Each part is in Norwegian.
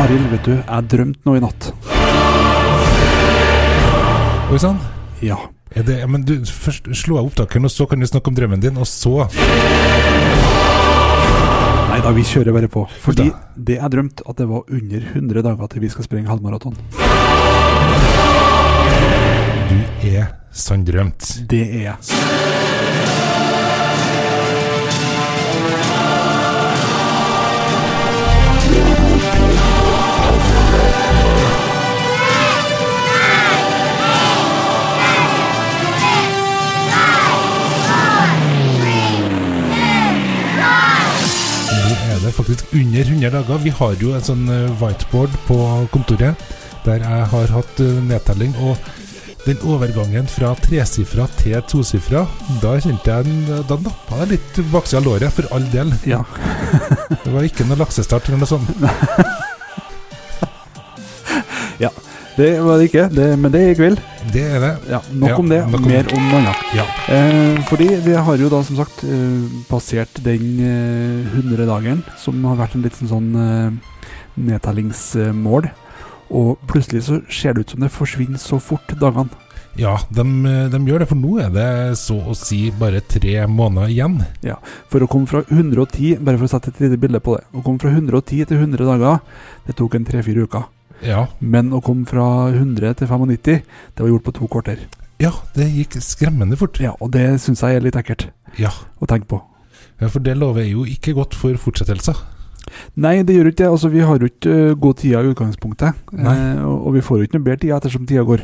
Arild, vet du, jeg drømte noe i natt. Oi sann. Ja. Er det, ja, men du, først slå av opptakeren, og så kan du snakke om drømmen din, og så Nei da, vi kjører bare på. Fordi Da. det jeg drømte, at det var under 100 dager til vi skal sprenge halvmaraton. Du er sanndrømt. Det er jeg. Nå er det faktisk under 100 dager. Vi har jo en sånn eh, whiteboard på kontoret der jeg har hatt eh, nedtelling. Og den overgangen fra tresifra til tosifra, da kjente jeg en- Da nappa jeg litt baksida av låret, for all del. Ja. Det var ikke noe laksestart eller noe sånt. Det var det ikke, det, men det gikk vel. Det er det. Ja, nok Ja, om det. nok om Mer om noe annet. Ja. Eh, fordi vi har jo da som sagt eh, passert den eh, 100-dageren, som har vært en liten sånn eh, nedtellingsmål. Og plutselig så ser det ut som det forsvinner så fort, dagene. Ja, de, de gjør det, for nå er det så å si bare tre måneder igjen. For å komme fra 110, bare for å sette et lite bilde på det Å komme fra 110 til 100 dager, det tok en tre-fire uker. Ja, Men å komme fra 100 til 95, det var gjort på to kvarter. ja det gikk skremmende fort. Ja, Og det syns jeg er litt ekkelt Ja. å tenke på. ja, for det lover jo ikke godt for fortsettelser. Nei, det gjør jo ikke det. Altså, vi har jo ikke ø, god tid i utgangspunktet. Nei. Eh, og, og vi får jo ikke noe bedre tid ettersom tida går.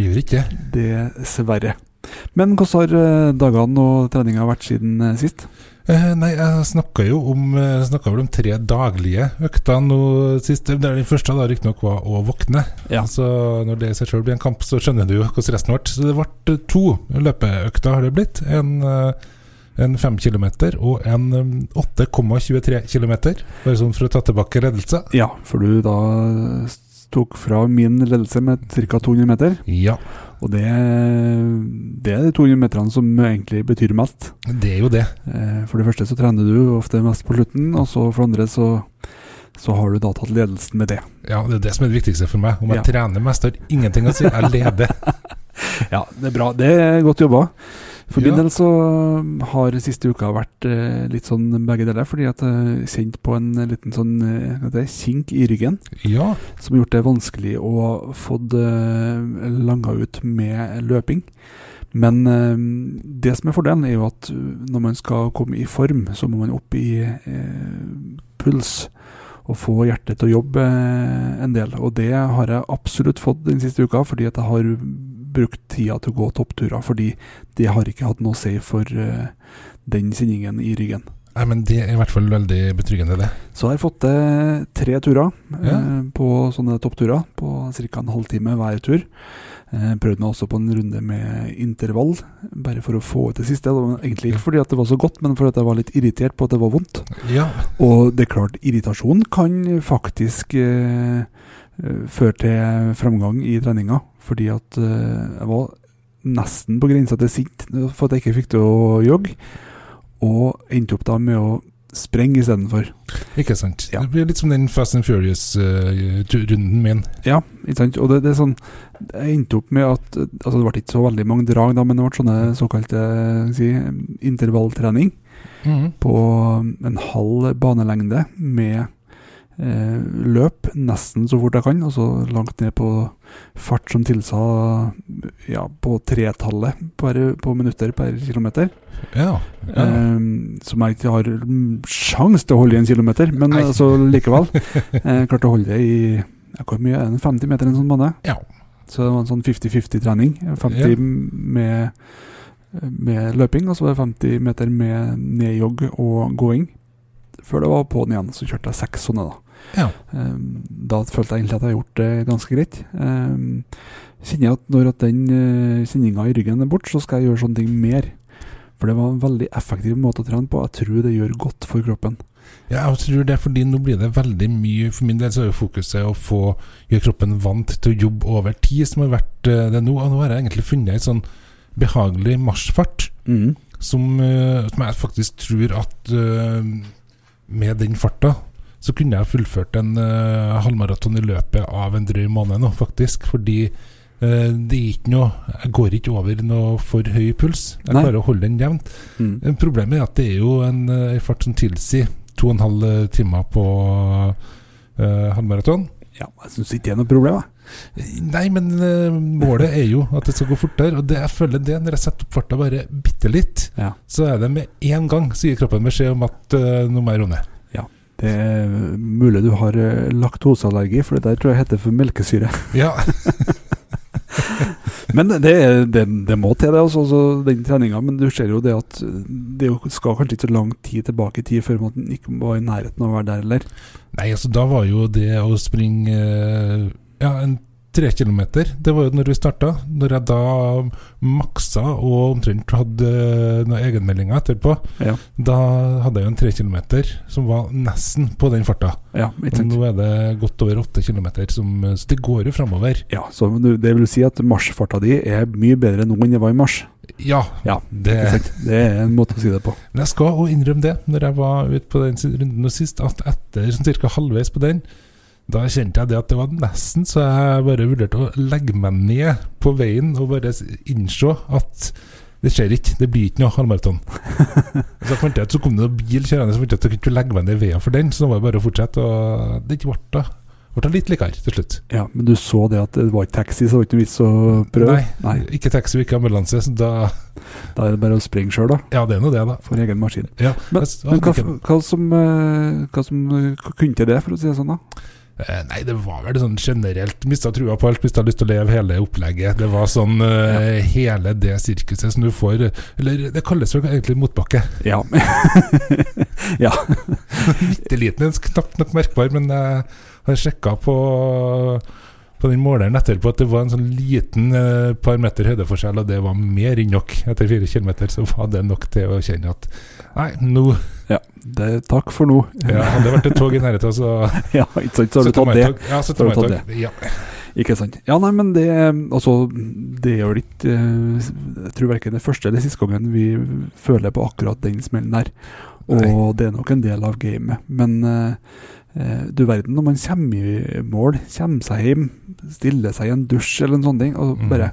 Gjør ikke det. Dessverre. Men hvordan har ø, dagene og treninga vært siden ø, sist? Eh, nei, jeg snakka jo om eh, snakket vel om tre daglige økter nå sist. Det er Den første da riktignok var å våkne. Ja. Så når det i seg sjøl blir en kamp, så skjønner du jo hvordan resten ble. Så det ble to løpeøkter har det blitt. En, eh, en 5 km og en eh, 8,23 km. Bare sånn for å ta tilbake ledelse. Ja, for du da s- tok fra min ledelse med ca. 200 meter. Ja, Og det, det er de 200 meterne som egentlig betyr mest. det er jo det. Eh, For det første så trener du ofte mest på slutten, og så for det andre så, så har du da tatt ledelsen med det. Ja, Det er det som er det viktigste for meg. Om jeg Ja. trener mest, har ingenting å si. Jeg leder. Ja, det er bra. Det er godt jobba. For min Ja. del så har siste uka vært eh, litt sånn begge deler, fordi at jeg kjente på en liten sånn eh, hva heter det, kink i ryggen Ja, som har gjort det vanskelig å få det langa ut med løping. Men eh, det som er fordelen, er jo at eh, når man skal komme i form, så må man opp i eh, puls og få hjertet til å jobbe eh, en del. Og det har jeg absolutt fått den siste uka, fordi at jeg har brukt tida til å gå toppturer. Fordi det har ikke hatt noe å si for eh, den kjenningen i ryggen. Nei, men det er i hvert fall veldig betryggende, det. Så jeg har fått til tre turer Ja. eh, på sånne toppturer, på ca. en halvtime hver tur. Eh, prøvde meg også på en runde med intervall, bare for å få ut det siste. Det var egentlig ikke fordi at det var så godt, men fordi at jeg var litt irritert på at det var vondt. Ja, Og det er klart, irritasjon kan faktisk eh, eh, føre til framgang i treninga, fordi at eh, jeg var nesten på grensa til sint for at jeg ikke fikk til å jogge, og endte opp da med å sprenge istedenfor. Ikke sant. Ja. Det blir litt som den Fast and Furious-runden min. Ja, ikke sant. Og det, det er sånn Jeg endte opp med at Altså, det ble ikke så veldig mange drag, da, men det ble sånne såkalte si, intervalltrening på um, en halv banelengde med eh, løp nesten så fort jeg kan, og så langt ned på fart som tilsa ja, på tretallet per- på minutter per kilometer. Ja. ja. Eh, som jeg ikke har mm, sjans til å holde i en kilometer, men Nei. altså likevel. Eh, klarte å holde det i ja, Hvor mye er det? 50 meter en sånn bane? Ja. Så det var en sånn 50-50-trening. 50 Ja. med, med løping, og så var det 50 meter med nedjogg og gåing. Før det var på'n igjen, så kjørte jeg seks sånne, da. Ja. Eh, Da følte jeg egentlig at jeg har gjort det ganske greit. Eh, Kjenner jeg at når at den eh, kjenninga i ryggen er borte, så skal jeg gjøre sånne ting mer. For det var en veldig effektiv måte å trene på. Jeg tror det gjør godt for kroppen. Ja, Jeg tror det er fordi nå blir det veldig mye For min del så er jo fokuset å få gjøre kroppen vant til å jobbe over tid, som har vært eh, det nå. Og nå har jeg egentlig funnet ei sånn behagelig marsjfart som, eh, som jeg faktisk tror at eh, med den farta så kunne jeg fullført en eh, halvmaraton i løpet av en drøy måned nå, faktisk. Fordi eh, det er ikke noe Jeg går ikke over noe for høy puls. Jeg Nei. klarer å holde den jevnt. Mm. Eh, Problemet er at det er jo en eh, fart som tilsier to og en halv eh, timer på eh, halvmaraton. Ja, jeg syns ikke det er noe problem. Jeg. Nei, men eh, målet er jo at det skal gå fortere. Og det jeg føler det når jeg setter opp farta bare bitte litt, Ja. så er det med en gang så gir kroppen beskjed om at eh, nå må jeg roe ned. Det er mulig du har eh, laktoseallergi, for det der tror jeg heter for melkesyre. Ja, Men det, er- det, det må til, det, altså, altså, den treninga. Men du ser jo det at det jo skal kanskje ikke så lang tid tilbake i tid før man ikke var i nærheten av å være der heller. Nei, altså da var jo det å springe eh, ja, en tre kilometer Det var jo når vi starta. Når jeg da maksa og omtrent hadde eh, noen egenmeldinger etterpå, Ja. da hadde jeg jo en tre kilometer som var nesten på den farta. Ja, ikke Og sant? nå er det godt over åtte kilometer, som, så det går jo framover. Ja, så du- det vil si at marsjfarta di er mye bedre nå enn det var i mars. Ja, Ja, det ikke sant? Det er en måte å si det på. Men jeg skal også innrømme det, når jeg var ute på den si- runden nå sist, at etter sånn ca. halvveis på den, da kjente jeg det at det var nesten så jeg bare vurderte å legge meg ned på veien og bare s- innse at det skjer ikke, det blir ikke noe halvmaraton. så fant jeg ut, så kom det noen bil kjørende, så fant jeg ut at jeg kunne ikke legge meg ned i veien for den, så da var det bare å fortsette. Og det ble da ble det litt likere til slutt. Ja, Men du så det at det var ikke taxi, så det var ikke noe vits å prøve? Nei, Ikke taxi og ikke ambulanse, så da Da er det bare å springe sjøl, da. Ja, det er nå det, da. For egen maskin. Ja, Men- jeg- Men hva, hva som, eh, hva som eh, kunne til det, for å si det sånn, da? Eh, Nei, det var vel sånn generelt Mista trua på alt, mista lyst til å leve hele opplegget. Det var sånn eh, hele det sirkuset som du får eh, Eller det kalles vel egentlig motbakke. Ja. Bitte liten, en knapt nok merkbar, men eh, jeg har sjekka på på den måleren etterpå at det var en sånn liten eh, par meter høydeforskjell, og det var mer enn nok. Etter fire kilometer så var det nok til å kjenne at Nei, nå ja. Det, takk for nå. ja, Hadde det vært et tog i nærheten, så Ja, ikke sant? Så har du tatt det. Ja, så Så har du tar tatt jeg tog. Ja. Ikke sant. Ja, nei, men det Altså, det gjør det ikke eh, Jeg tror verken det første eller siste gangen vi føler på akkurat den smellen der. Og Nei. det er nok en del av gamet. Men eh, eh, du verden, når man kommer i mål, kommer seg hjem, stiller seg i en dusj eller en sånn ting, og Mhm. bare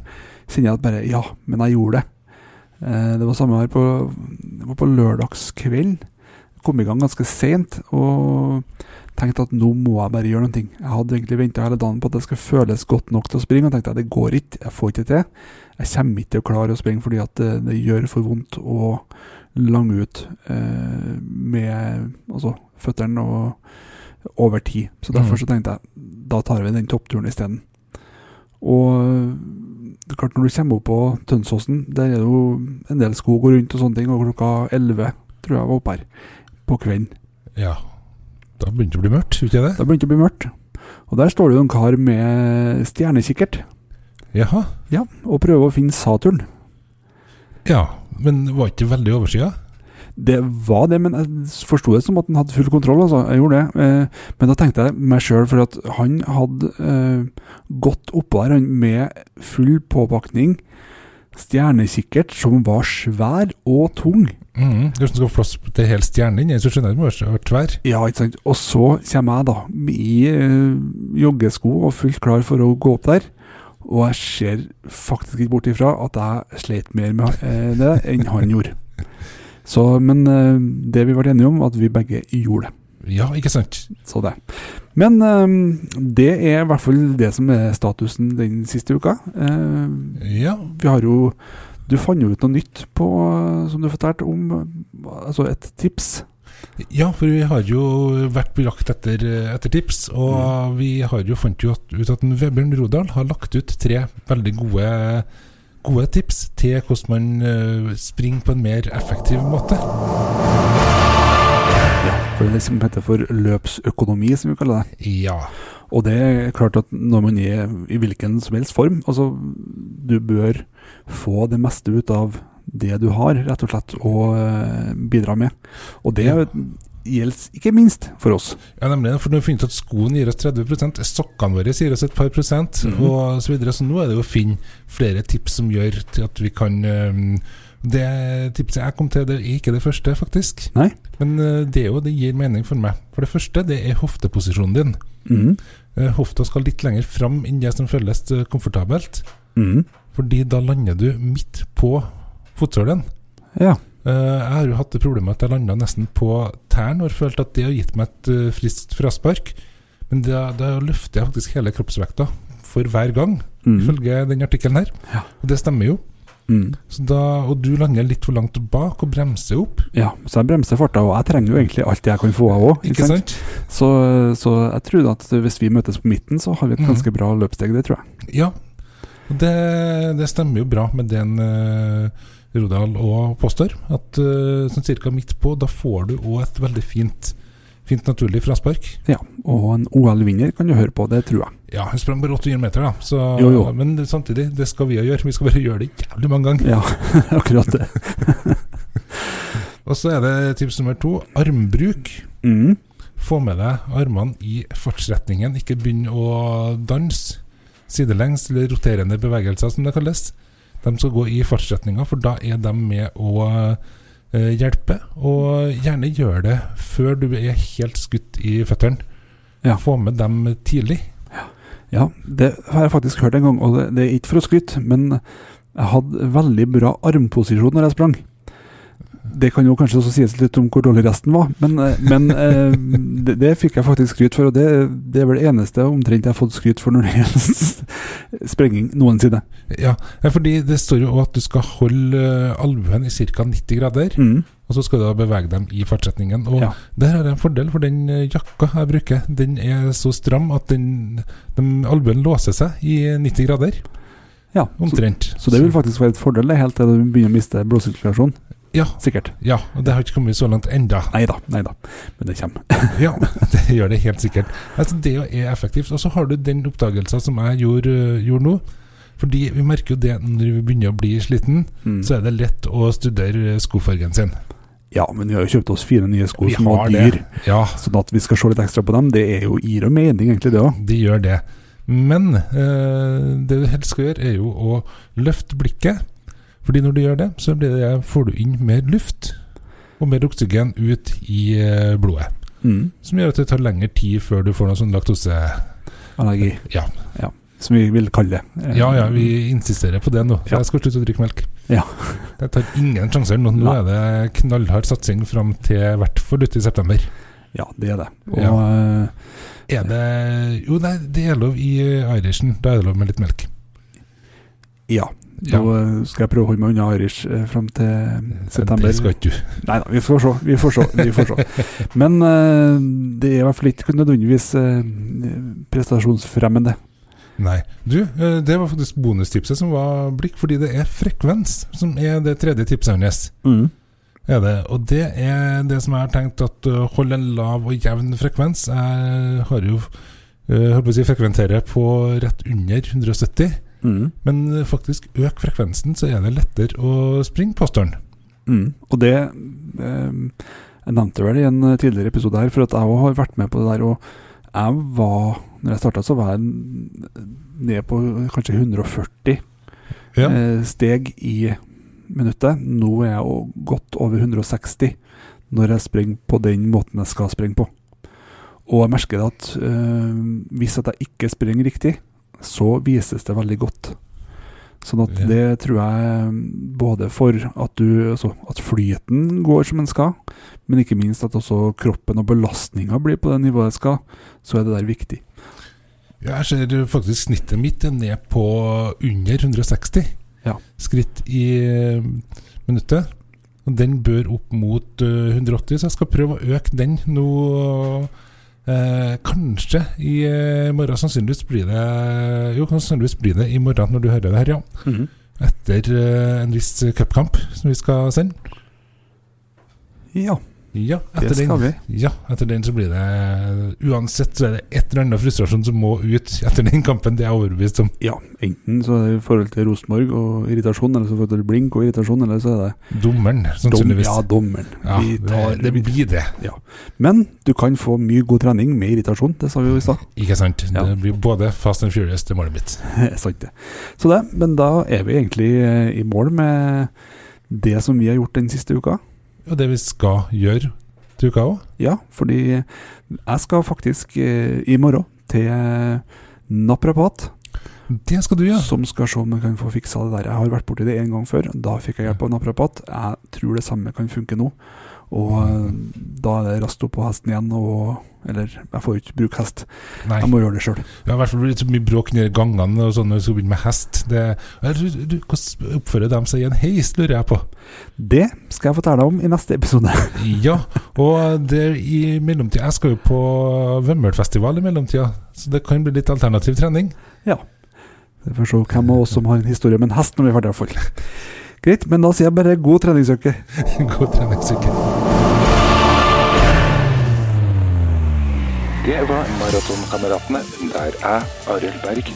kjenner jeg at bare Ja, men jeg gjorde det. Eh, det var samme her på, det var på lørdagskvelden. Kom i gang ganske seint. Og tenkte at nå må jeg bare gjøre noe. Jeg hadde egentlig venta hele dagen på at det skulle føles godt nok til å springe, og tenkte at det går ikke, jeg får ikke til. Jeg kommer ikke til å klare å springe fordi at det, det gjør for vondt å lange ut eh, med altså, føttene og over tid. Så derfor Mm. så tenkte jeg da tar vi den toppturen isteden. Og eh, det er klart når du kommer opp på Tønsåsen, der er det jo en del skog og rundt og sånne ting, og klokka 11 tror jeg var oppe her på kvelden. ja. Da begynte det å bli mørkt, gjorde ikke det? Da begynte det å bli mørkt. Og der står det jo en kar med stjernekikkert Jaha. Ja, og prøver å finne Saturn. Ja, men var ikke veldig overskya? Det var det, men jeg forsto det som at han hadde full kontroll. altså, jeg gjorde det. Eh, Men da tenkte jeg meg sjøl, for at han hadde eh, gått oppå der han, med full påpakning, stjernekikkert som var svær og tung. Mm. Hvordan skal du få plass til hel stjerne inni, så skjønner jeg at den må ha vært tvær. Ja, ikke sant. Og så kommer jeg da i eh, joggesko og fullt klar for å gå opp der. Og jeg ser faktisk ikke bort ifra at jeg slet mer med eh, det enn han gjorde. Så, men eh, det vi ble enige om, at vi begge gjorde det. Ja, ikke sant? Så det. Men eh, det er i hvert fall det som er statusen den siste uka. Eh, Ja. vi har jo Du fant jo ut noe nytt på, eh, som du fortalte om, eh, altså et tips. ja, for vi har jo vært på jakt etter, etter tips, og vi har jo fant jo at- ut at en Vebjørn Rodal har lagt ut tre veldig gode, gode tips til hvordan man eh, springer på en mer effektiv måte. For det er det som heter for løpsøkonomi, som vi kaller det. Ja. Og det er klart at når man er i hvilken som helst form, altså du bør få det meste ut av det du har, rett og slett, å eh, bidra med. Og det Ja. gjelder ikke minst for oss. Ja, nemlig. For når vi finner ut at skoen gir oss 30 sokkene våre gir oss et par prosent, Mhm. og så videre. Så nå er det jo å finne flere tips som gjør til at vi kan øhm, Det tipset jeg kom til, det er ikke det første, faktisk. Nei. Men eh, det, er jo, det gir mening for meg. For det første, det er hofteposisjonen din. Mhm. Eh, Hofta skal litt lenger fram enn det som føles eh, komfortabelt. Mhm. Fordi da lander du midt på fotsålen. Ja. Eh, Jeg har jo hatt det problemet at jeg landa nesten på tærne og følt at det har gitt meg et eh, friskt fraspark. Men da, da løfter jeg faktisk hele kroppsvekta for hver gang, Mhm. ifølge den artikkelen her. Ja. Og det stemmer jo. Mhm. Så da, og du lander litt for langt bak og bremser opp. ja. Så jeg bremser farta, og jeg trenger jo egentlig alt jeg kan få av òg. Ikke sant? Så, så jeg tror at hvis vi møtes på midten, så har vi et Mhm. ganske bra løpssteg, det tror jeg. Ja. Og det, det stemmer jo bra med den eh, Rodal og påstår. At eh, sånn cirka midt på, da får du òg et veldig fint, fint naturlig fraspark. Ja, Og en OL-vinner kan du høre på, det tror jeg. Ja, hun sprang bare 800 meter, da. Så, Jo, jo. Men det- samtidig, det skal vi jo gjøre. Vi skal bare gjøre det jævlig mange ganger. Ja, akkurat det. Og så er det tips nummer to armbruk. Mhm. Få med deg armene i fartsretningen. Ikke begynn å danse sidelengs, eller roterende bevegelser, som det kalles. De skal gå i fartsretninga, for da er de med å eh, hjelpe. Og gjerne gjør det før du er helt skutt i føttene. Ja. Få med dem tidlig. Ja, det har jeg faktisk hørt en gang, og det, det er ikke for å skryte, men jeg hadde veldig bra armposisjon når jeg sprang. Det kan jo kanskje også sies litt om hvor dårlig resten var, men, eh, men eh, det, det fikk jeg faktisk skryt for, og det, det er vel det eneste omtrent jeg har fått skryt for når det gjelder sprenging noensinne. Ja, ja, fordi det står jo også at du skal holde eh, albuen i ca. 90 grader, Mm. og så skal du da bevege dem i fartsretningen. Og Ja. der er det en fordel, for den eh, jakka jeg bruker, den er så stram at den, den albuen låser seg i 90 grader, Ja, så, omtrent. så det vil faktisk være et fordel, det, helt til du begynner å miste blodsirkulasjon. Ja. Sikkert. Ja, og det har ikke kommet så langt enda. Nei da, nei da. Men det kommer. Ja, det gjør det helt sikkert. Altså, det jo er effektivt. Og så har du den oppdagelsen som jeg gjorde, eh, gjorde nå. Fordi vi merker jo det når vi begynner å bli sliten, Mm. så er det lett å studere skofargen sin. Ja, men vi har jo kjøpt oss fire nye sko Vi som var har det. dyr. Ja, Sånn at vi skal se litt ekstra på dem, det er jo gir jo mening, egentlig, det òg. De gjør det. Men eh, det du helst skal gjøre, er jo å løfte blikket. Fordi når du gjør det, så blir det, får du inn mer luft og mer oksygen ut i eh, blodet. Som gjør at det tar lengre tid før du får noe sånn laktose... Allergi. Ja. Ja. Som vi vil kalle det. Eh, Ja ja, vi insisterer på det nå. Ja. Jeg skal slutte å drikke melk. Ja. Jeg tar ingen sjanser nå. Nå Nei. er det knallhard satsing fram til hvert fall uti september. Ja, det er det. Og Ja. eh, Er det Jo, nei, det er lov i eh, Irishen. Da er det lov med litt melk. ja. Ja. Nå eh, skal jeg prøve å holde meg unna Irish eh, fram til september. Det skal ikke du. Nei da, vi får se. Vi får se. Vi får se. Men eh, det er i hvert fall ikke nødvendigvis eh, prestasjonsfremmende. Nei. Du, eh, det var faktisk bonustipset som var blikk, fordi det er frekvens som er det tredje tipset hennes. Er det. Og det er det som jeg har tenkt at eh, hold en lav og jevn frekvens. Jeg har jo eh, holdt på å si frekventerer på rett under 170, Mm. men eh, faktisk øk frekvensen, så er det lettere å springe, påstår han. Mm. Og det eh, Jeg nevnte vel i en eh, tidligere episode her, for at jeg òg har vært med på det der. Og jeg var Når jeg starta, så var jeg ned på kanskje 140 Ja. eh, steg i minuttet. Nå er jeg jo godt over 160 når jeg springer på den måten jeg skal springe på. Og jeg merker det at eh, hvis at jeg ikke springer riktig, så vises det veldig godt. Sånn at Ja. det tror jeg mm, både for at du altså, at flyten går som den skal, men ikke minst at også kroppen og belastninga blir på det nivået det skal, så er det der viktig. Jeg ser eh, faktisk snittet mitt er ned på under 160 Ja. skritt i eh, minuttet. Og den bør opp mot eh, 180, så jeg skal prøve å øke den nå. Eh, kanskje i eh, morgen. Sannsynligvis blir det Jo, sannsynligvis blir det i morgen når du hører det her, ja. Etter eh, en viss cupkamp som vi skal sende. Ja, Ja, det etter den. skal vi. Ja, etter den så blir det Uansett så er det et eller annet frustrasjon som må ut etter den kampen, det er jeg overbevist om. Ja, enten så er det i forhold til Rosenborg og irritasjon, eller så i forhold til blink og irritasjon, eller så er det Dommeren, dom, sannsynligvis. ja, dommeren. Ja, Vi tar, det, det blir det, Men du kan få mye god trening med irritasjon, det sa vi jo i stad. ikke sant? Ja. Det blir både Fast and Furious til målet mitt. Sant det. Så det, men da er vi egentlig eh, i mål med det som vi har gjort den siste uka. Og det vi skal gjøre til uka òg. Ja, fordi jeg skal faktisk eh, i morgen til naprapat, Det skal du gjøre. som skal se om jeg kan få fiksa det der. Jeg har vært borti det en gang før. Da fikk jeg hjelp av naprapat. Jeg tror det samme kan funke nå. Og eh, da er det raskt opp på hesten igjen, og Eller, jeg får jo ikke bruke hest. Nei. Jeg må gjøre det sjøl. Det har i hvert fall blitt så mye bråk nede i gangene og sånn når vi skal begynne med hest. Det, Jeg tror- du, hvordan oppfører de seg i en heis, lurer jeg på. Det skal jeg fortelle deg om i neste episode. Ja, og det i mellomtida Jeg skal jo på Vømmølfestival i mellomtida, så det kan bli litt alternativ trening. Vi får se hvem av oss som har en historie med en hest når vi er ferdige, iallfall. Greit, men da sier jeg bare god treningsøke. God treningsuke. Det var Maratonkameratene, der jeg, Arild Berg,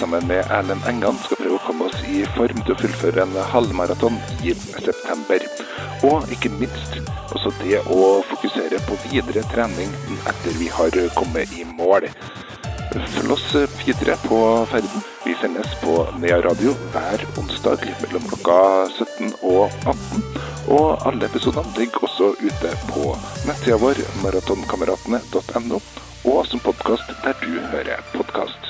sammen med Erlend Engan skal prøve å komme oss i form til å fullføre en halvmaraton i september. Og ikke minst også det å fokusere på videre trening etter vi har kommet i mål. Følg oss eh, videre på ferden. Vi sendes på Nea Radio hver onsdag mellom klokka 17 og 18. Og alle episodene ligger også ute på nettsida vår maratonkameratene.no, og som podkast der du hører podkast.